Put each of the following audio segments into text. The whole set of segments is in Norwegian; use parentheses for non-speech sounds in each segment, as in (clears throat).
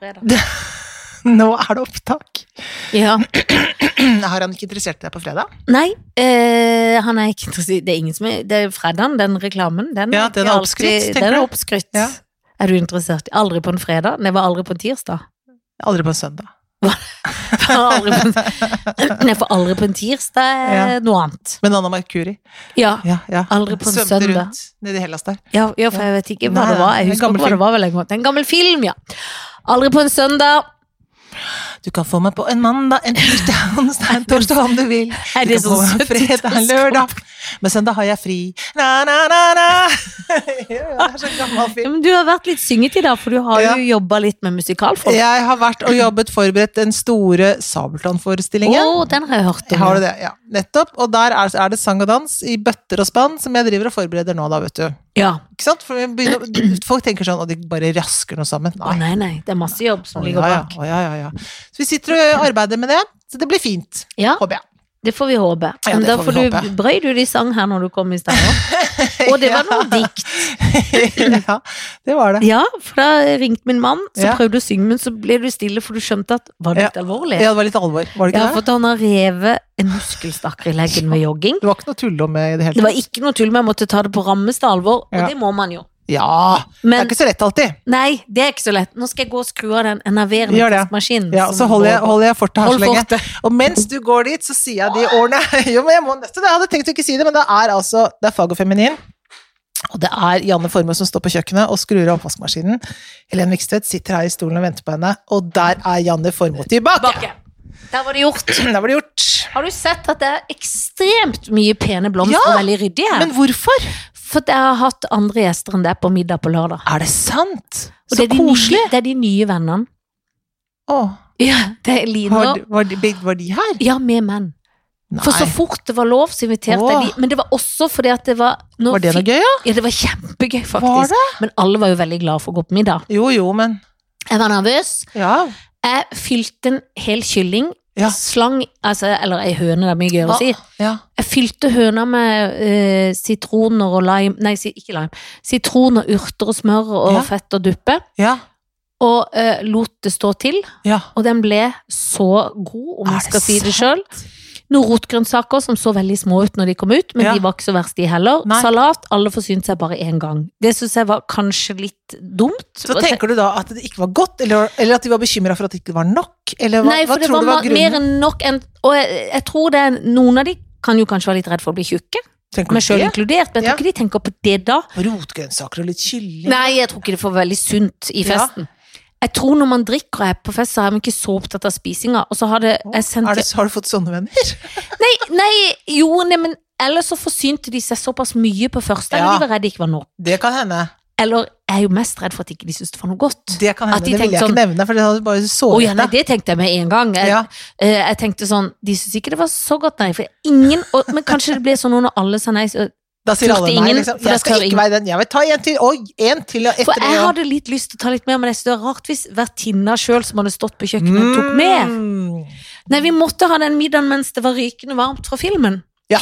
fredag. (laughs) Nå er det opptak! Ja. (clears throat) Har han ikke interessert deg på fredag? Nei, eh, han er ikke interessert Det er ingen som er Det er fredagen, den reklamen. Den Ja, den er alltid- oppskrytt, tenker Den er du? oppskrytt. Ja. Er du interessert? Aldri på en fredag. Nei, var aldri på en (laughs) tirsdag. Aldri på en søndag. Var aldri på en, nei, for aldri på en tirsdag er Ja. noe annet. Men Anna Mercuri. Ja. Ja, ja. Aldri på en Svømte søndag. rundt nede i Hellas der. Ja, ja, for jeg vet ikke hva Nei, det var. Jeg en husker gammel ikke hva det film. var vel en gang. Det er En gammel film, ja. Aldri på en søndag. Du kan få meg på en mandag, en tirsdag, onsdag, en torsdag om du vil. Er Du det kan få sånn meg en fredag, en 70-tallsskap? lørdag. Men søndag har jeg fri. Na, na, na, na. (laughs) Ja, ja, det er så gammel Ja, film. Men du har vært litt synget i dag, for du har Ja. jo jobba litt med musikalfolk. Å, Jeg har vært og jobbet forberedt den store Sabeltann-forestillingen. den har jeg hørt om. Har du det? Ja, nettopp. Og der er, er det sang og dans i bøtter og spann som jeg driver og forbereder nå, da, vet du. Ja. Ikke sant? For vi begynner, folk tenker sånn at de bare rasker noe sammen. Å, nei, Nei. nei. Det er masse jobb som Å, ligger ja, ja, bak. å, ja, ja, ja. Så vi sitter og arbeider med det, så det blir fint. Ja, Håper jeg. det får vi håpe. Ja, Men det da får får vi du håpe. brøy du de sang her når du kom i (laughs) stad òg. Og det var noe dikt. ja, det var det. Ja, for da ringte min mann, så Ja. prøvde du å synge, men så ble du stille, for du skjønte at var det litt alvorlig? Ja, det var litt alvor, var det Ja, ikke for at det? han har revet en muskelstakker i leggen ved jogging. Det var ikke noe å tulle om i det hele Det var tatt. ikke noe tull med, jeg måtte ta det på rammeste alvor, og Ja. det må man jo. Ja, det Men er ikke så lett alltid. nei, det er ikke så lett. Nå skal jeg gå og skru av den enerverende Gjør det. tidsmaskinen. Ja, som så holder jeg, går- holder jeg fortet her Hold så lenge. fortet. Og mens du går dit, så sier jeg de årene (laughs) Jo, men jeg må nesten det. Jeg hadde tenkt å ikke si det, men det er altså Det er fag og feminin. Og det er Janne Formoe som står på kjøkkenet og skrur av oppvaskmaskinen. Helen Vikstvedt sitter her i stolen og venter på henne, og der er Janne Formoe tilbake! Bakke. Der var det gjort. Da var (clears throat) det gjort. Har du sett at det er ekstremt mye pene blomster, Ja, og veldig ryddig her? Men hvorfor? For jeg har hatt andre gjester enn deg på middag på lørdag. Er det sant? Og Så det er de koselig! Nye, det er de nye vennene. Åh, Ja, det er Line var, og de- var, de, var de her? Ja, med menn. Nei. For så fort det var lov, så inviterte jeg Åh. de. Men det var også fordi at det var nå var det noe fikk- gøy, ja? Ja, det var kjempegøy, faktisk. Var det? Men alle var jo veldig glad for å gå på middag. Jo, jo, men Jeg var nervøs. Ja. Jeg fylte en hel kylling. Ja. Slang altså, Eller ei høne, det er mye gøyere å si. ja. Jeg fylte høna med eh, sitroner og lime Nei, si- ikke lime. Sitron og urter og smør og Ja. fett og duppe. Ja. Og eh, lot det stå til. ja. Og den ble så god, om Er jeg det skal si det sjøl. sant? Noen rotgrønnsaker som så veldig små ut når de kom ut, men Ja. de var ikke så verst, de heller. Nei. Salat, alle forsynte seg bare én gang. Det syns jeg var kanskje litt dumt. Så tenker du da at det ikke var godt, eller, eller at de var bekymra for at det ikke var nok? Eller hva, Nei, hva for det tror var, du var ma- mer grunnen? enn nok enn Og jeg, jeg tror det er noen av de kan jo kanskje være litt redd for å bli tjukke, Tenker meg du sjøl det? inkludert, men jeg Ja. tror ikke de tenker på det da. Rotgrønnsaker og litt kylling? Nei, jeg tror ikke det får veldig sunt i Ja. festen. Jeg tror når man drikker og er på fest, så er man ikke så opptatt av spisinga. Og så har det, jeg sendt, Er det, har du fått sånne venner? Nei, nei, jo, nei, men ellers så forsynte de seg såpass mye på første, eller Ja. de var redd det ikke var nok. Det kan hende. Eller jeg er jo mest redd for at ikke de syntes det var noe godt. Det kan At hende, de det ville jeg tenkte sånn, ikke nevne, for det hadde bare Å såret ja, nei, det tenkte jeg med en gang. Jeg, Ja. eh, jeg tenkte sånn De syns ikke det var så godt, nei. For ingen og, Men kanskje det ble sånn når alle sa nei. Så, Da sier turte alle nei, ingen, liksom. for da Jeg tør skal ikke ingen. være den. Jeg vil ta en til. Oi, en til og for etter jeg og- hadde litt lyst til å ta litt mer, men jeg synes det er rart hvis vertinna sjøl som hadde stått på kjøkkenet, tok mer. Mm. Nei, vi måtte ha den middagen mens det var rykende varmt fra filmen. Ja.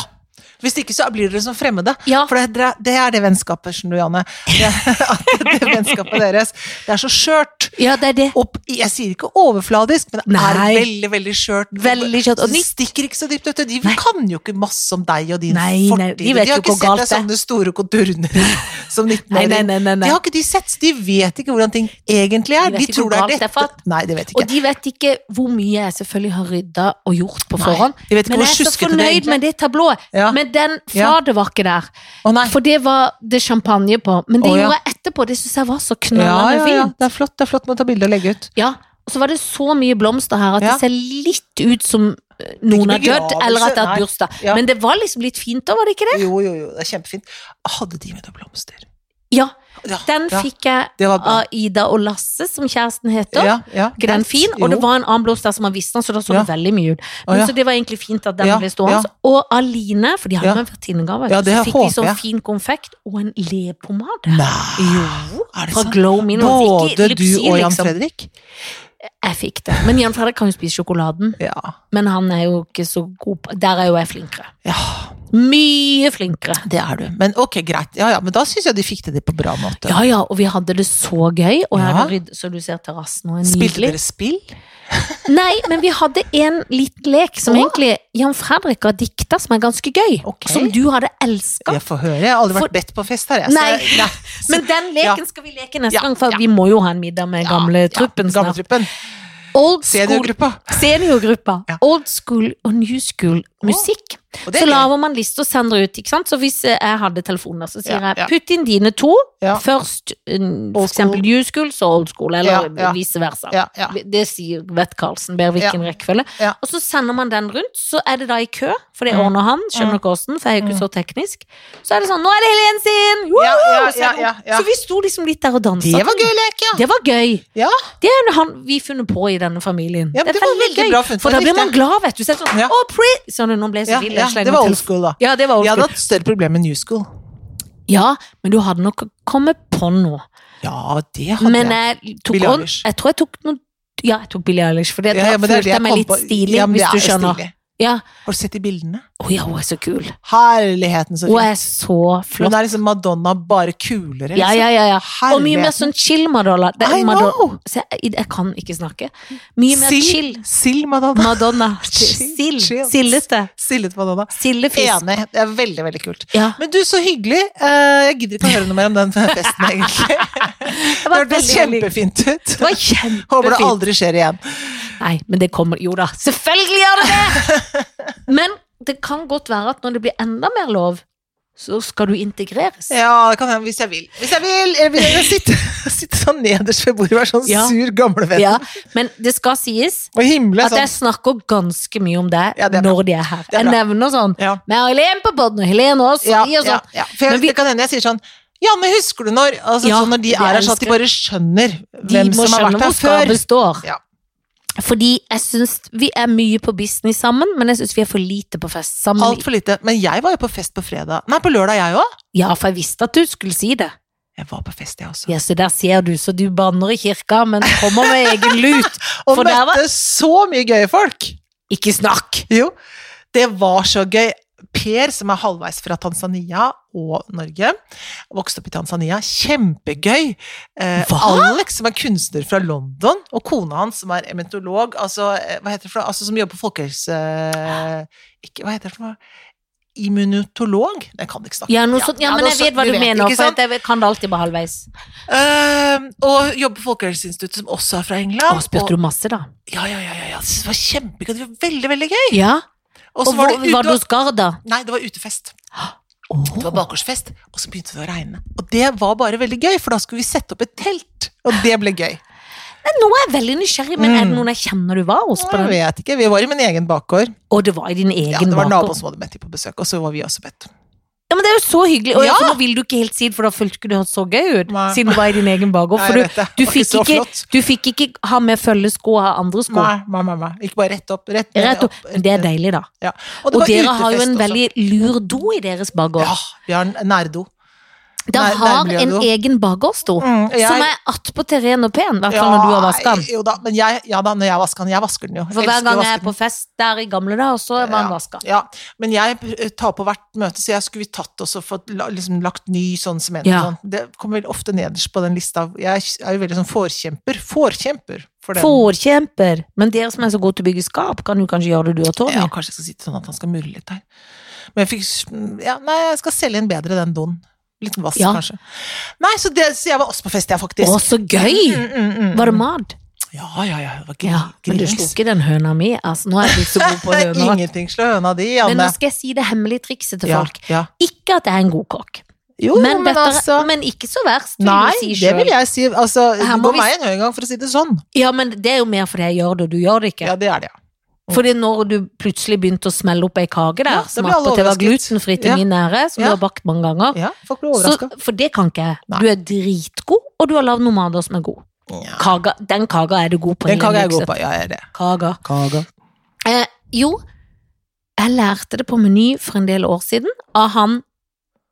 Hvis ikke så blir dere som fremmede. Ja, For det, dere- det er det vennskapet, skjønner du, Janne. (laughs) Det, at det vennskapet deres. Det er så skjørt. ja det er det. Og jeg sier ikke overfladisk, men det er Nei. veldig, veldig skjørt. Veldig skjørt, og Og de nytt. stikker ikke så dypt, vet du. De Nei. kan jo ikke masse om deg og din Nei, nei, fortid. de vet jo har ikke hvor sett galt deg det er. sånne store (laughs) konturner som 19-åring. Nei, nei, nei, nei, De nei. har ikke de sett, så de vet ikke hvordan ting egentlig er. De vet De, ikke tror hvor det galt er det er fatt. dette. Nei, det vet Og ikke. de vet ikke hvor mye jeg selvfølgelig har rydda og gjort på Nei, forhånd. de vet ikke Men hvor jeg er så sjuskete det fornøyd egentlig er. med det tablået. Ja. Men den Ja. fadet var ikke der. Å nei. For det var det champagne på. Men det Å, ja. gjorde jeg etterpå. Det syns jeg var så Ja, knallende ja, fint. ja. Det er flott, det er flott med å ta bilde og legge ut. Ja, og så var det så mye blomster her at Ja. det ser litt ut som eh, noen har Ikke dødd, begravelse, eller at det nei. er bursdag. Ja. Men det var liksom litt fint da, var det ikke det? Jo, jo, jo, det er kjempefint. Ah, Hadde de med noen blomster? Ja, Ja, den ja, fikk jeg Det var bra. av Ida og Lasse, som kjæresten heter. Ja, ja, Ikke den fin? Og det var en annen blomst der som har visst den, så da så Ja. det veldig mye ut. Å, Men ja. Så det var egentlig fint at den Ja, ble stående. Og Aline, for de hadde Ja. med en vertinnegave, Ja, det så fikk de håper sånn jeg. fin konfekt og en leppepomade. Nei, Jo, er det fra sant? Glow Min. og Både ikke du Lipsil, og Jan liksom. Fredrik? Jeg fikk det. Men Jan Fredrik kan jo spise sjokoladen. Ja. Men han er jo ikke så god på Der er jo jeg flinkere. ja. Mye flinkere. Det er du. Men ok, greit. Ja, ja, men da syns jeg de fikk til det på bra måte. Ja ja, og vi hadde det så gøy. Og jeg Ja. hadde rydd, så du ser terrassen og er Spilte nydelig. dere spill? Nei, men vi hadde en liten lek som Å. egentlig Jan Fredrik har dikta, som er ganske gøy. Ok. Som du hadde elska. Jeg får høre. Jeg har aldri For- vært bedt på fest her, jeg. så- Nei. (laughs) Ja, så- Men den Ja. leken skal vi leke neste Ja, gang, for ja. vi må jo ha en middag med Ja, gamle truppen ja, gamle snart. truppen. Old school, Seniorgruppa. seniorgruppa. Ja. Old school og new school musikk. Og det Så er gøy. lager man liste og sender ut, ikke sant. Så hvis eh, jeg hadde telefonen der, så sier Ja, ja. jeg putt inn dine to. Ja. Først eh, for Old school. eksempel new school, så old school, eller Ja, ja. vice versa. Ja, ja. Det sier vet Karlsen bedre hvilken rekkefølge. Ja. Og så sender man den rundt, så er det da i kø, for det Mm. ordner han, skjønner dere åssen, for jeg er jo ikke så teknisk. Så er det sånn, nå er det Helen sin! Woo! Ja, ja, Så er det sånn, ja, ja, ja. Så vi sto liksom litt der og dansa. Det var gøy lek, ja. Det var gøy. Ja. Det er han vi funnet på i denne familien. Ja, men det var veldig bra funnet, For da jeg blir likte man glad, vet du. Så er det sånn, Ja. «Å, pretty!» Sånn, nå ble jeg så Ja, vill. ja, jeg slenger det var med old telefon- school, da. Ja, det var old Jeg hadde school. hatt større problemer med new school. Ja, men du hadde nok kommet på noe. Ja, det hadde Men eh, jeg. jeg tok Billie on, Eilish. jeg tror jeg tok noe Ja, jeg tok Billie Eilish, for da Ja, ja, men det er det følte jeg meg kom litt på. stilig, Ja, men hvis det du er skjønner. stilig. Ja. Har du sett de bildene? Å ja, hun er så kul. Herligheten, så Hun fint. er så Hun flott. er liksom Madonna, bare kulere. Liksom. Ja, ja, ja. ja. Og mye mer Herligheten. sånn chill Madonna. Det, I Madonna. know! Se, jeg, jeg kan ikke snakke. Mye mer chill Sild. Sild Madonna. (laughs) Madonna. Chill, Sild. chill. Sildete. Sildet Madonna. Sildefisk. Enig. Det er veldig, veldig kult. Ja. Men du, så hyggelig. Eh, Jeg gidder ikke å høre noe mer om den (laughs) festen, egentlig. Det Det var hørtes veldig, veldig- kjempefint Det ut. var (laughs) Håper det kjempefint. aldri skjer igjen. Nei, men det kommer Jo da, selvfølgelig gjør det (laughs) det! Men det kan godt være at når det blir enda mer lov, så skal du integreres. Ja, det kan hende hvis jeg vil. Hvis jeg vil! Eller vil jeg (laughs) sitte, sitte sånn nederst ved bordet og være sånn Ja. sur gamlevenn. Ja, men det skal sies Og himle at jeg sånn. snakker ganske mye om deg Ja, det er bra. når de er her. Det er jeg bra. nevner sånn Ja. Vi har Helen på båten, og Helen og oss, Ja, og vi og ja, sånn. ja. For Men jeg, vi- det kan hende jeg sier sånn Ja, men husker du når altså, Ja, sånn Når de det er her, sånn at elsker de bare skjønner De hvem må som har skjønne vært hvor her før. skapet står. Ja. Fordi jeg syns vi er mye på business sammen, men jeg syns vi er for lite på fest sammen. Altfor lite. Men jeg var jo på fest på fredag. Nei, på lørdag, jeg òg. Ja, for jeg visste at du skulle si det. Jeg var på fest, jeg også. Ja, så der ser du, så du banner i kirka, men kommer med egen lut. Og For der var- møtte så mye gøye folk. Ikke snakk! Jo, det var så gøy. Per, som er halvveis fra Tanzania og Norge, vokste opp i Tanzania. Kjempegøy! Eh, Hva? Alex, som er kunstner fra London, og kona hans, som er ementolog, altså, eh, hva heter det for noe? Altså, som jobber på folkehelse... Eh, ikke, hva heter det for noe? Immunotolog? Den kan jeg ikke snakke Ja, noe Ja, sånt. Ja, ja, men noe jeg vet sånt, hva du du vet, mener, ikke for sant? at jeg vet- kan det alltid bare halvveis. Eh, og jobber på Folkehelseinstituttet, som også er fra England. Å, spurte du masse, da? Ja, ja, ja, ja, ja. Det var kjempegøy. Det var veldig, veldig gøy. Ja. Og Og så var hvor det var du ute... hos Garda? Nei, det var utefest. Åh. Det var bakgårdsfest, og så begynte det å regne. Og det var bare veldig gøy, for da skulle vi sette opp et telt. Og det ble (laughs) gøy. Nei, Nå er jeg veldig nysgjerrig, men er det Mm. noen jeg kjenner du var hos på Jeg den? vet ikke, Vi var i min egen bakgård. Og det var i din egen Ja, det var naboen bakgård. som hadde bedt de på besøk, og så var vi også bedt. Ja, men det er jo så hyggelig. Og Ja. for nå vil du ikke helt si det, for da følte ikke du at det så gøy ut. Nei. Siden du var i din egen bakgård. Nei, For du, jeg vet det. du, Det var fikk så ikke, flott. du fikk ikke ha med følgesko og ha andre sko. Nei, nei, nei, nei. Gikk bare rett opp. Rett, ned, Rett opp. Men det er deilig, da. Ja. Og var dere har jo utefest en også. veldig lur do i deres bakgård. Ja, vi har en nærdo. Dere nei, har nærmiljø en do. egen bakgårdsdo. Mm, jeg- Som er attpåtil ren og pen, i hvert fall når du har vaska den. Jo da, men jeg, ja da, når jeg vasker den. Jeg vasker den jo. For hver Elsker å gang jeg vaske er på fest der i gamle dager, så var den vaska. Ja, men jeg eh, tar på hvert møte, så jeg skulle vi tatt oss og fått la- liksom, lagt ny sånn sement. og Ja. Sånn. Det kommer vel ofte nederst på den lista. Jeg er jo veldig sånn forkjemper. Forkjemper for den. Forkjemper. Men dere som er så gode til å bygge skap, kan jo kanskje gjøre det, du og Tony. Ja, kanskje jeg skal si det sånn at han skal murre litt her. Men jeg fikk ja, Nei, jeg skal selge inn bedre den doen. Litt vass, Ja. kanskje. Nei, så, det, så jeg var også på fest, jeg, faktisk. Å, så gøy! Mm, mm, mm. Var det mat? Ja, ja, ja. Det var gr Ja, men du grillings. slo ikke den høna mi. Altså, nå er jeg blitt så (laughs) god på høner. at- Ingenting slår høna di, Men nå Anne. skal jeg si det hemmelige trikset til Ja, folk. ja. Ikke at jeg er en god kokk, Jo, men, dette, altså men ikke så verst, vil Nei, du si det sjøl. vil jeg si. Altså, Her det må går vi- meg en høy gang, for å si det sånn. Ja, men det er jo mer fordi jeg gjør det, og du gjør det ikke. Ja, det er det, ja. Fordi når du plutselig begynte å smelle opp ei kake der, Ja, det som blir alle attpåtil var overrasket. glutenfri til Ja. min ære, som Ja. du har bakt mange ganger, ja folk blir så, overraska. for det kan ikke jeg. Nei. Du er dritgod, og du har lagd noen mater som er god. Ja. Kaga, den kaga er du god på. Den Helene kaga jeg går Mykseth. på. Ja, jeg er det. Kaga. Eh, jo, jeg lærte det på Meny for en del år siden av han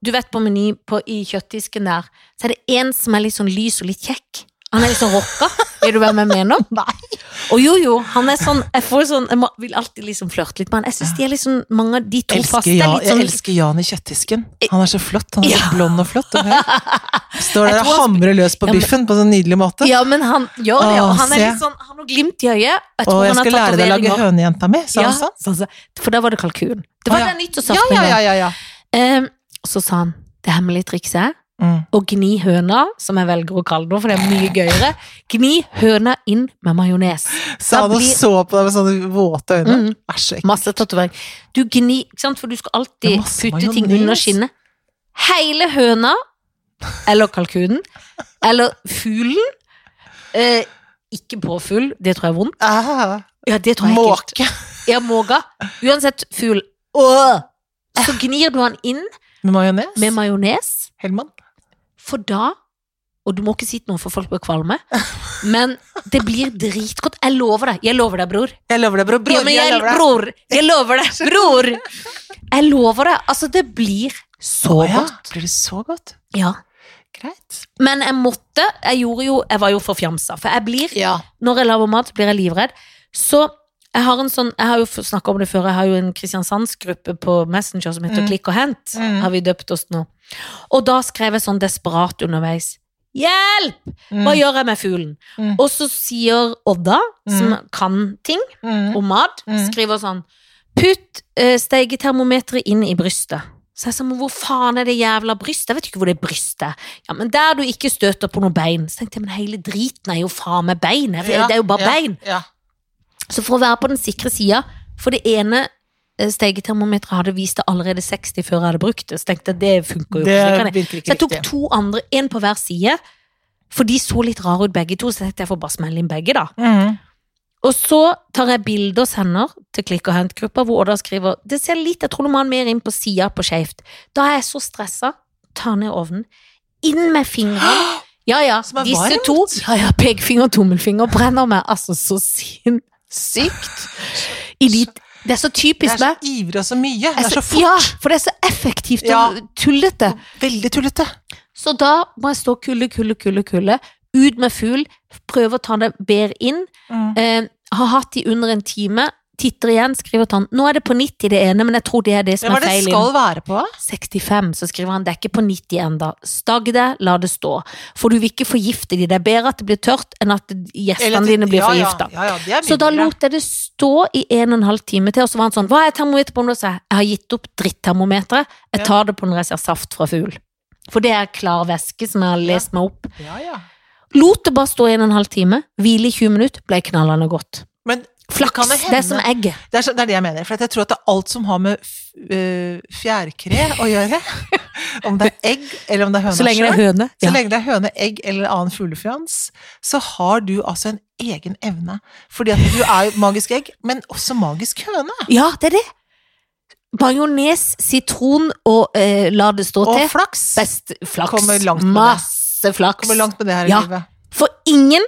Du vet på Meny på, i kjøttdisken der, så er det en som er litt sånn lys og litt kjekk. Han er liksom (laughs) rocka. Er du hva jeg mener? Nei. Og jo, jo, han er sånn Jeg, får sånn, jeg må, vil alltid liksom flørte litt med han. Jeg syns de er liksom mange av de to Elsker passer Jan, litt jeg sånn elsker Jan i kjøttdisken. Han er så flott. Han er Ja. så blond og (laughs) flott. Og høy. Står Jeg der og tror han- hamrer løs på Ja, men- biffen på sånn nydelig måte. Ja, men han gjør det, og Åh, han er se. litt sånn Han har noe glimt i øyet. Jeg Og tror jeg han har skal lære deg å lage tatoveringer. hønejenta mi, sa Ja, han sånn. sånn, så- For da var det kalkun. Det Å, var ja. den Ja, nyttårsaften. ja, da. ja, ja, ja. Ehm, og så sa han det hemmelige trikset er Mm. å gni høna, som jeg velger å kalle det, for det er mye gøyere, gni høna inn med majones. Så han Da og blir- så på deg med sånne våte øyne. Mm. Æsj, så ekkelt. Masse tatovering. Du gni, ikke sant? For du skal Det alltid er masse putte ting majones. under skinnet. Hele høna, eller kalkunen, eller fuglen. Eh, ikke påfugl, det tror jeg er vondt. Ah, Ja, det tror jeg er ekkelt. Måke. Ja, måga. Uansett fugl. Åh! Så gnir du han inn Med majones. med majones, Hellmann. for da Og du må ikke si noe, for folk blir kvalme. Men det blir dritgodt. Jeg lover deg. Jeg lover deg, bror. Jeg lover det, bror. Ja, Bror, men jeg lover det. Bror, jeg lover (laughs) deg. Bror! Jeg lover deg. Altså, det blir så Å, ja. godt. Blir det så godt? Ja. Greit. Men jeg måtte. Jeg gjorde jo Jeg var jo forfjamsa. For jeg blir Når jeg lager mat, blir jeg livredd. Så jeg har en sånn, jeg har jo snakka om det før, jeg har jo en Kristiansandsgruppe på Messenger som heter Mm. Klikk og hent. Mm. Har vi døpt oss nå. Og da skrev jeg sånn desperat underveis. Hjelp! Mm. Hva gjør jeg med fuglen? Mm. Og så sier Odda, som kan ting Mm. om mat, Mm. skriver sånn Putt eh, steigetermometeret inn i brystet. Så jeg sa, men hvor faen er det jævla brystet? Jeg vet ikke hvor det er brystet. Ja, men der du ikke støter på noen bein. Så tenkte jeg, men hele driten er jo faen meg bein. Jeg- Ja, Det er jo bare ja, bein. Ja. Så for å være på den sikre sida, for det ene eh, stegetermometeret hadde vist det allerede 60 før jeg hadde brukt det, så tenkte jeg det funker jo Det ikke. kan jeg- virker Så ikke jeg tok riktig. to andre, én på hver side, for de så litt rare ut begge to, så jeg tenkte jeg får bare smelle inn begge, da. (gasps) Mm. Og så tar jeg bilder og sender til Klikk og hent-gruppa, hvor Odda skriver Det ser litt, jeg tror du må ha den mer inn på sida på skeivt. Da er jeg så stressa, tar ned ovnen, inn med (gasps) fingrene. Ja ja, Som er disse varmt. to. Ja ja, pekefinger og tommelfinger brenner meg altså så sinnssykt. I de, det er så Det typisk er så meg. ivrig og så mye. Det Jeg er så så- fort. Ja, for det er så effektivt Ja. og tullete. Veldig tullete. Mm. Så da må jeg stå kulde, kulde, kulde, kulde. Ut med fugl, prøve å ta det bedre inn. Mm. eh, har hatt de under en time, titter igjen, skriver til han Nå er det på 90 det ene, men jeg tror det er det Ja, som er Hva er det feil. skal være på? 65, så skriver han det er ikke på 90 enda. Stagg det, la det stå. For du vil ikke forgifte de. Det er bedre at det blir tørt enn at gjestene Eller- dine blir ja, ja. forgifta. Ja, ja, det er mye Så da bedre. lot jeg det stå i en og en halv time til, og så var han sånn Hva er termometer på nå? Så jeg jeg har gitt opp drittermometeret. Ja. Jeg tar det på når jeg ser saft fra fugl. For det er klar væske som jeg har lest meg opp. Ja, ja. Lot det bare stå i en og en halv time, hvile i 20 minutter, ble knallende godt. Men Flaks, kan det det, hende- er som egget. det er, så, det er det jeg mener. For at jeg tror at det er alt som har med f- øh, fjærkre å gjøre, (laughs) om det er egg eller om det er høna Så lenge det selv, er høne. så Ja. lenge det er høne, egg eller annen fuglefjans, så har du altså en egen evne. Fordi at du er jo magisk egg, men også magisk høne. ja, det er det. Majones, sitron og eh, la det stå Og til. flaks. Best flaks. Kommer langt med det. Masse flaks. Kommer langt med det her i Ja. livet. For ingen,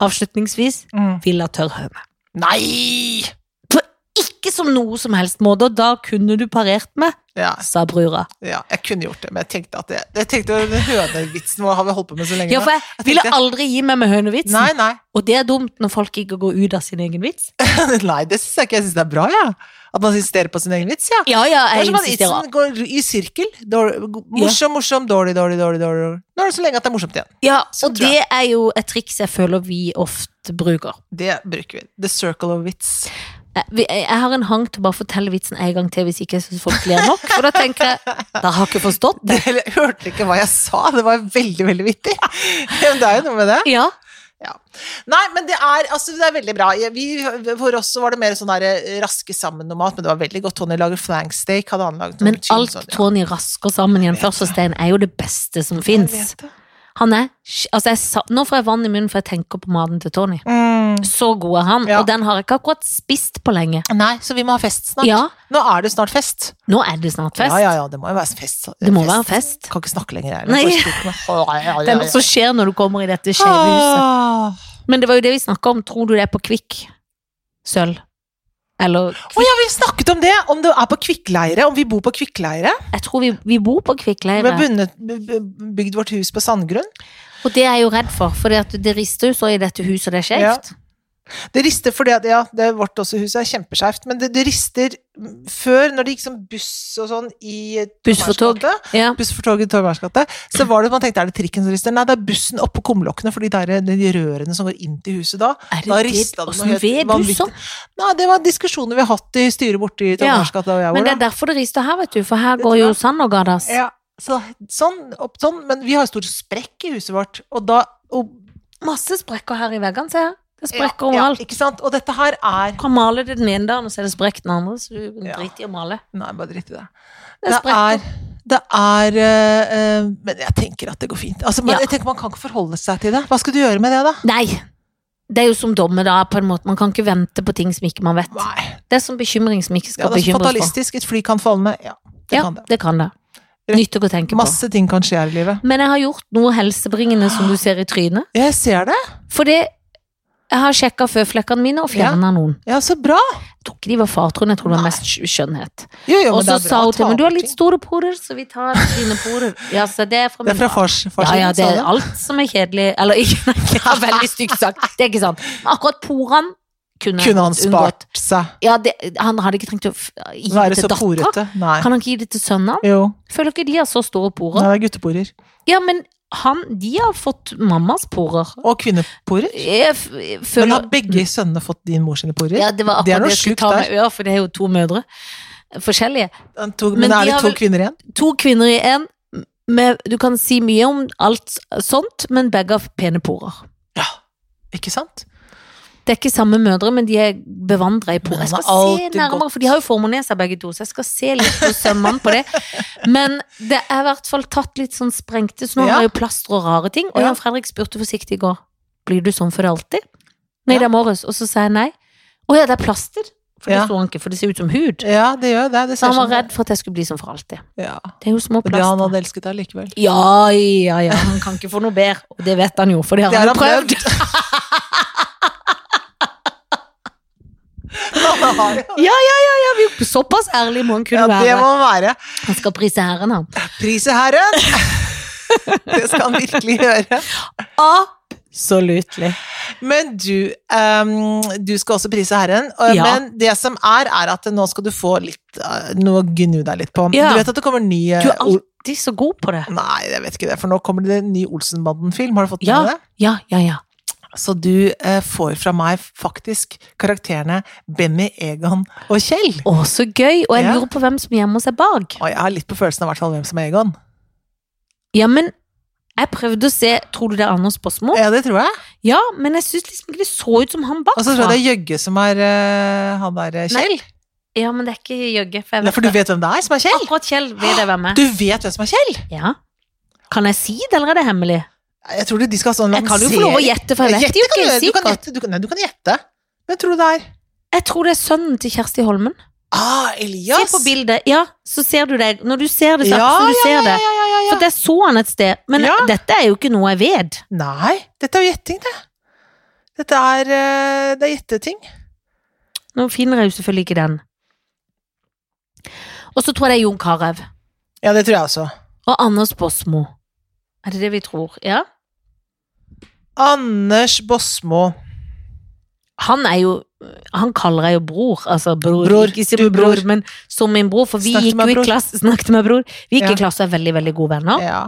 avslutningsvis, Mm. vil ha tørr høne. Nei! Ikke som noe som helst måte, og da kunne du parert med, Ja, sa brura. ja, jeg kunne gjort det, men jeg tenkte at det, jeg tenkte at den hønevitsen vår har vi holdt på med så lenge. Ja, nå. for jeg ville tenkte- aldri gi meg med hønevitsen. Nei, nei. (laughs) Og det er dumt når folk ikke går ut av sin egen vits. Nei, det syns jeg ikke. Jeg syns det er bra, jeg. At man insisterer på sin egen vits, ja. Ja, ja, Det er jeg som at insisterer. vitsen går i sirkel. Dårlig, morsom, morsom, dårlig, dårlig, dårlig. dårlig. dårlig. Nå er det så lenge at det er morsomt igjen. Ja, Sånn og tror det er jo et triks jeg føler vi ofte bruker. Det bruker vi. The circle of wits. Jeg, Eh, vi- jeg jeg har en hang til å bare fortelle vitsen en gang til hvis ikke jeg syns folk ler nok. For da tenker jeg da har jeg ikke forstått det. Dere hørte ikke hva (laughs) jeg sa, det var veldig, veldig vittig. (laughs) Ja, men det er jo noe med det. Ja, Ja. Nei, men det er, altså, det er veldig bra. Jeg- Vi, for oss så var det mer sånn der, raske sammen noe mat, men det var veldig godt. Tony lager flanksteak, hadde han laget. noe Men tynn alt sånn, ja. Tony rasker sammen i en førstestein, er jo det beste som Jeg vet fins. det. Han er altså jeg, sa- Nå får jeg vann i munnen, for jeg tenker på maten til Tony. Mm. Så god er han, Ja. og den har jeg ikke akkurat spist på lenge. Nei, så vi må ha fest snart. Ja, Nå er det snart fest. nå er det snart fest. Ja, ja, ja, det må jo være fest. Det må være en fest. Kan ikke snakke lenger, jeg. Nei. Bare slutt med- Ja, ja, ja, Ah. Det er noe ja. som skjer når du kommer i dette skjeve huset. Ah. Men det var jo det vi snakka om. Tror du det er på Kvikk? Sølv? Eller Å ja, vi snakket om det! Om det er på kvikkleire, om vi bor på kvikkleire. Jeg tror vi, vi bor på Kvikk Vi leire. har bundet, b- b- bygd vårt hus på sandgrunn. Og det er jeg jo redd for, for det, at det rister jo så i dette huset, og det er skjevt. Det rister fordi at, ja, det er vårt også huset er kjempeskjevt, men det, det rister Før, når det gikk sånn buss og sånn i Buss for tog. Torgmarksgata, Ja. Buss for tog i Torgmarks gate, så var det man tenkte er det trikken som rister? Nei, det er bussen oppå kumlokkene, for de der de rørene som går inn til huset da. Er Da det det? ristet det noe Åssen helt ved du sånn? vanvittig. så? Nei, det var diskusjoner vi har hatt i styret borte i Torgmarks gate, der hvor jeg Men bor. det da. er derfor det rister her, vet du, for her Vet går du jo hva? Sandergadas. Ja, så, sånn, opp, sånn, men vi har jo stor sprekk i huset vårt, og da og, Masse sprekker her i veggene, se her. Det er ja, sprekker ja, overalt. Ikke sant? Og dette her er Du kan male det den ene dagen, og så er det sprekk den andre, så du Ja. driter i å male. Nei, bare dritt i det. Det er Det er, sprekker. det er eh, eh, Men jeg tenker at det går fint. Altså, Ja. men jeg tenker Man kan ikke forholde seg til det. Hva skal du gjøre med det, da? Nei! Det er jo som dommedag, på en måte. Man kan ikke vente på ting som ikke man vet. Nei, Det er som bekymring som ikke ja, skal det er bekymres for. fatalistisk. Et fly kan falle ned. Ja, det Ja, kan det. det kan det. Nyttig å tenke på. Masse ting kan skje her i livet. Men jeg har gjort noe helsebringende som du ser i trynet. Jeg ser det. For det Jeg har sjekka føflekkene mine og fjerna noen. Ja, så bra. Jeg tror ikke de var fartroende, jeg tror det var Nei. mest skj- skjønnhet. Jo, jo, Og men det så er bra sa å hun til ta meg du har bort litt ting. store porer, så vi tar dine porer. Ja, så det er fra Det er min fra far. fars far Ja, sin, ja, det sa er du? alt som er kjedelig Eller ikke, det er veldig stygt sagt. Det er ikke sant. Men akkurat porene kunne, Kunne han spart unngått. seg? Ja, det, han hadde ikke trengt å f- gi Være det til så dattera. porete? Nei. Kan han ikke gi det til sønnen? Jo. Føler ikke de har så store Nei, porer? det er gutteporer. Ja, men han, de har fått mammas porer. Og kvinneporer. Jeg f- jeg Men føler har begge sønnene fått din mor sine porer? Ja, det var Det er akkurat noe det jeg skulle sjukt ta der. med øre, for det er jo to mødre. Forskjellige. To, men, Men de er det har to vel- kvinner igjen? To kvinner i én. Med, du kan si mye om alt sånt, men begge har pene porer. Ja. Ikke sant? Det er ikke samme mødre, men de er bevandra i porer. Men Jeg han skal har se alltid nærmere, gått- for de har jo formernert seg begge to, så jeg skal se litt på sømmene på det. Men det er i hvert fall tatt litt sånn sprengte, så nå Ja. har jeg jo plaster og rare ting. Og Ja. Jan Fredrik spurte forsiktig i går blir du sånn for alltid. Nei, Ja. det er morges. Og så sa jeg nei. Å ja, det er plaster. For det Ja. så han ikke, for det ser ut som hud. Ja, det gjør det. Så det ser han var sånn ut. redd for at jeg skulle bli sånn for alltid. Ja. Det er jo små Men det han plaster. hadde elsket deg likevel. Ja, ja, ja, han kan ikke få noe bedre. Og det vet han jo, for det har Det han har jo han prøvd. (laughs) Han har jo- Ja, vi- Såpass ærlig må han kunne Ja, det være. må han være. Han skal prise herren, han. Prise herren! (laughs) Det skal han virkelig gjøre. Absolutt. Men du, ehm, du skal også prise herren. og- Ja. Men det som er, er at nå skal du få litt eh, Noe å gnu deg litt på. Ja. Du vet at det kommer ny eh, Du er Ol- alltid så god på det. Nei, jeg vet ikke det, for nå kommer det en ny Olsenbanden-film. Har du fått med deg det? Ja, ja, ja. Så du eh, får fra meg faktisk karakterene Benny, Egon og Kjell. Å, så gøy. Og jeg Ja. lurer på hvem som gjemmer seg bak. Og jeg har litt på følelsen av i hvert fall hvem som er Egon. Ja, men jeg prøvde å se Tror du det er Anders Båsmo? Ja, det tror jeg. Ja, men jeg syns liksom ikke det så ut som han Og så tror bakfra. jeg det er Jøgge som er eh, han der eh, Kjell. Nei. Ja, men det er ikke Jøgge. For jeg Nei, vet for du det. vet hvem det er som er Kjell? Akkurat Kjell vet jeg hvem er. Du vet hvem som er Kjell? Ja. Kan jeg si det, eller er det hemmelig? Jeg tror de skal ha sånn Jeg kan jo få lov å gjette, for jeg vet jo ikke du kan sikkert. gjette. Du kan, nei, du kan gjette. Hvem tror du det er? Jeg tror det er sønnen til Kjersti Holmen. Ah, Elias. Se på bildet, ja, så ser du det. Når du ser det, så Ja, absolutt du ser Ja, det. ja, ja, ja, ja. For der så han et sted. Men Ja. dette er jo ikke noe jeg vet. Nei, dette er jo gjetting, det. Dette er, eh, det er gjetteting. Nå finner jeg jo selvfølgelig ikke den. Og så tror jeg det er Jon Carew. Ja, det tror jeg også. Og Anders Båsmo. Er det det vi tror? Ja. Anders Båsmo. Han er jo Han kaller jeg jo bror. Altså bror, Bror, ikke som du bror, bror. men som min bror. For vi Snakket med gikk jo bror. i klasse (laughs) Snakket med bror. Vi gikk Ja. i klasse og er veldig, veldig gode venner. Ja.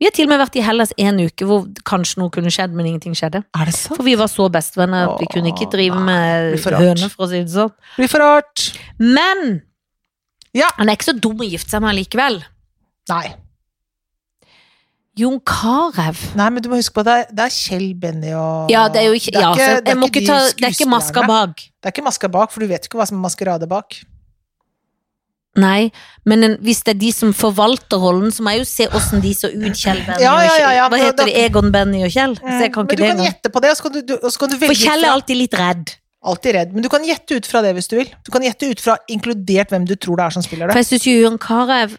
Vi har til og med vært i Hellas en uke hvor kanskje noe kunne skjedd, men ingenting skjedde. Er det sant? For vi var så bestevenner at vi Åh, kunne ikke drive nei, med blir for rart. høner, for å si det sånn. Blir for rart. Men Ja. han er ikke så dum å gifte seg med likevel. Nei. Jon Carew. Nei, men du må huske på at det er, det er Kjell, Benny og Ja, det er jo ikke, ja, det er så det er jeg må ikke de ta, det er ikke maska skuespillerne. bak. Det er ikke maska bak, for du vet jo ikke hva som er maskerade bak. Nei, men en, hvis det er de som forvalter rollen, så må jeg jo se åssen de så ut, Kjell Benny Ja, ja, og ja, Kjell. ja, Hva men da- Mm, heter de? Egon, Benny og Kjell? Så jeg kan ikke men du det kan engang. gjette på det, og så kan du, du, og så kan du velge For ut Kjell fra- er alltid litt redd. Alltid redd, men du kan gjette ut fra det hvis du vil. Du kan gjette ut fra inkludert hvem du tror det er som spiller For det. jeg syns jo Jon Carew er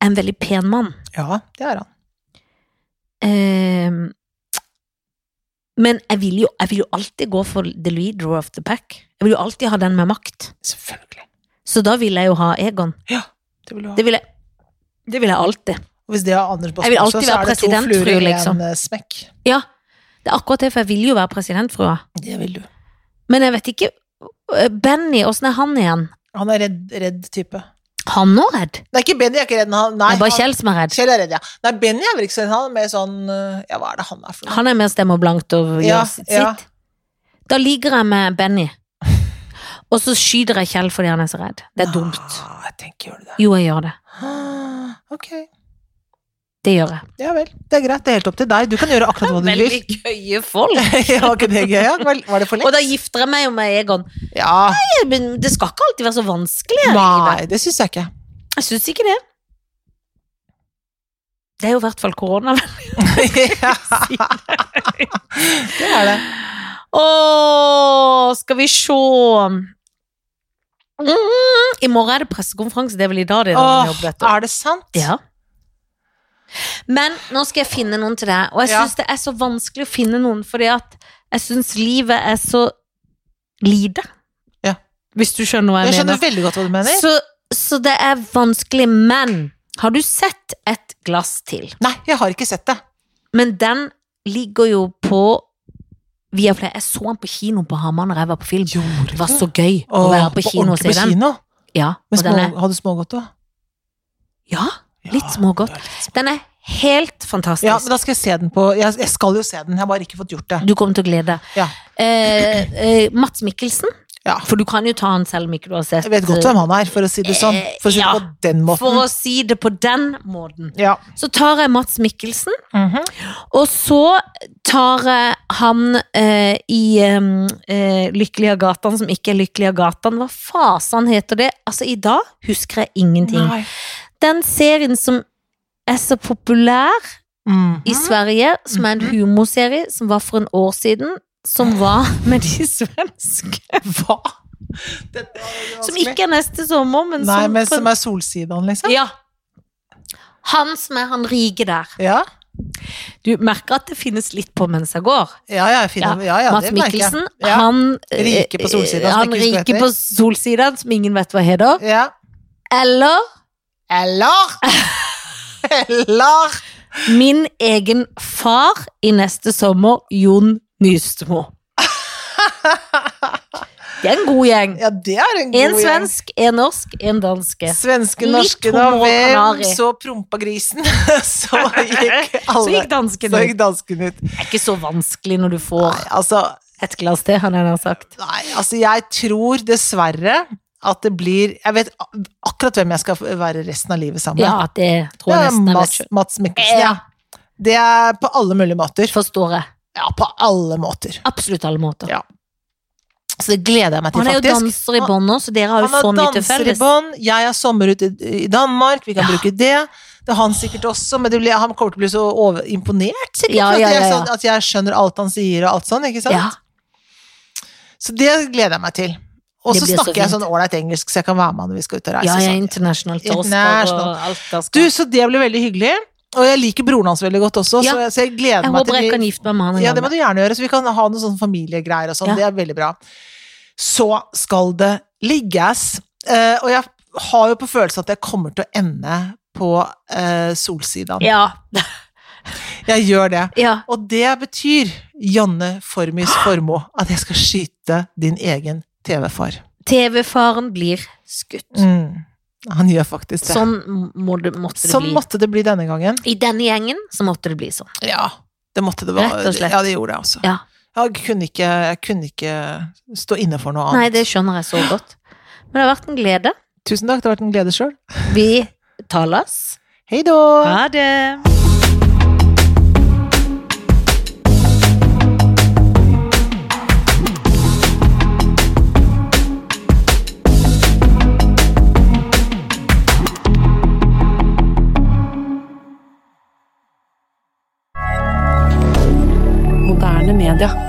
en veldig pen mann. Ja, det er han. Eh, men jeg vil, jo, jeg vil jo alltid gå for the leader of the pack. Jeg vil jo alltid ha den med makt. Selvfølgelig. Så da vil jeg jo ha Egon. Det vil du ha. Det vil jeg, det vil jeg alltid. Og hvis det er Anders Bass Jeg vil også, alltid så være er det to president, fluer i tror jeg, en liksom. eh, smekk. Ja, det er akkurat det, for jeg vil jo være presidentfrua. Det vil du. Men jeg vet ikke øh, Benny, åssen er han igjen? Han er redd, redd type. Han nå redd? Det er ikke Benny, jeg er ikke redd. Han, nei, det er bare han- Kjell som er redd. Kjell er redd, ja. Nei, Benny er vel ikke så redd. Han er mer sånn eh, Ja, hva er det han er for noe? Han er mer stemmer blankt og gjør Ja, sitt. ja. Da ligger jeg med Benny. Og så skyter jeg Kjell fordi han er så redd. Det er dumt. Ah, jeg tenker, gjør du det? Jo, jeg gjør det. Ah, Ok. Det gjør jeg. Ja vel. Det er greit. Det er helt opp til deg. Du kan gjøre akkurat hva du vil. (laughs) Veldig gøye folk. Ja, Var ikke det gøy? Ja? Var var det for Og lett? da gifter jeg meg jo med Egon. Ja. Nei, Men det skal ikke alltid være så vanskelig her i livet. Nei, det syns jeg ikke. (laughs) Jeg syns ikke det. Det er jo i hvert fall korona. Ja. (laughs) Det er det. Å, skal vi se mm, I morgen er det pressekonferanse, det er vel i dag det er Åh, noen jobb, vet du. er det sant? Ja. Men nå skal jeg finne noen til deg, og jeg Ja. syns det er så vanskelig å finne noen, fordi at jeg syns livet er så lite. Ja. Hvis du skjønner hva jeg, Jeg skjønner mener. veldig godt hva du mener. Så, så det er vanskelig, men har du sett et glass til? Nei, jeg har ikke sett det. Men den ligger jo på Viaplay. Jeg så den på kino på Hamar når jeg var på film. Gjorde Det var så gøy å være på kino og se den. Kino. Ja, Men og den små, er, hadde du smågodt òg? ja, litt smågodt. Den er helt fantastisk. Ja, men da skal jeg se den på Jeg, jeg skal jo se den, jeg har bare ikke fått gjort det. Du kommer til å glede deg. Ja. Eh, eh, Mats Mikkelsen, Ja. for du kan jo ta han selv om ikke du har sett Jeg vet godt hvem han er, for å si det sånn. For å si det Ja. på den eh, For måten. å si det på den måten. Ja. Så tar jeg Mats Mikkelsen, Mhm. og så tar jeg han eh, i um, eh, Lykkelig av gatan som ikke er Lykkelig av gatan. Hva fasen heter det? Altså, i dag husker jeg ingenting. Nei. Den serien som er så populær Mhm. i Sverige, som er en humorserie som var for en år siden, som var (laughs) med de svenske Hva? Dette var veldig Som vanskelig. ikke er neste sommer, men Nei, som, men på- som er Solsidan, liksom? Ja. Han som er han rike der. Ja, Du merker at det finnes litt på mens jeg går. ja, ja, jeg finner, ja, ja Mats det merker jeg. Mikkelsen, Ja. han eh, Rike på solsiden, som Han ikke husker hva rike heter. på solsiden, som ingen vet hva heter. Ja. Eller (laughs) Eller Eller min egen far i neste sommer, Jon (laughs) Nystemo. Det er en god gjeng. Ja, det er en god En gjeng. svensk, en norsk, en danske. Svenske, Litt norske, da. humor og Hvem kanari. så prompa grisen? (laughs) Så (laughs) gikk alle Så gikk dansken så ut. gikk dansken ut. Det er ikke så vanskelig når du Nei, får altså, et glass til, har jeg nær sagt. nei, altså jeg tror dessverre at det blir Jeg vet ak- akkurat hvem jeg skal være resten av livet sammen med. Ja, det tror det jeg er nesten jeg vet Mats, selv. Mats Mikkelsen. Ja. Ja. Det er på alle mulige måter. Forstår jeg. Ja, på alle måter. Absolutt alle måter. Ja, Så det gleder jeg meg til, Han er jo faktisk. danser i bånd nå, så dere har jo Han har så mye til danser i felles. bånd, jeg er sommer ute i Danmark, vi kan Ja. bruke det. Det er han sikkert også, men det blir, han kommer til å bli så over, imponert sikkert, Ja, for ja, at, jeg, ja, ja. sånn- at jeg skjønner alt han sier og alt sånn, ikke sant? Ja, Så det gleder jeg meg til. Og Det så blir så snakker jeg fint. sånn ålreit engelsk, så jeg kan være med når vi skal ut og reise. ja, og ja sånn. international toaster International. og alt der Du, skal. så det blir veldig hyggelig, og jeg liker broren hans veldig godt også, Ja. så, jeg, så jeg gleder Jeg meg til håper jeg vi- kan gifte meg med han en Ja, det må gang. du gjerne gjøre, så vi kan ha noen sånne familiegreier og sånn. Ja. Det er veldig bra. Så skal det ligges. Eh, og jeg har jo på følelsen at jeg kommer til å ende på uh, Solsidan. Ja, (laughs) Jeg gjør det. ja. Og det betyr, Janne Formis Formoe, at jeg skal skyte din egen TV-far. TV-faren blir skutt. Mm. Han gjør faktisk det. Sånn, Sånn må det, måtte det bli. måtte det bli denne gangen. I denne gjengen så måtte det bli sånn. Ja, det måtte det være. Rett og slett. Ja, det gjorde det, altså. Ja. Jeg kunne ikke, jeg kunne ikke stå inne for noe Nei, annet. det skjønner jeg så godt. Men det har vært en glede. Tusen takk, det har vært en glede sjøl. Vi tales. Hei då! Ha det. moderne media.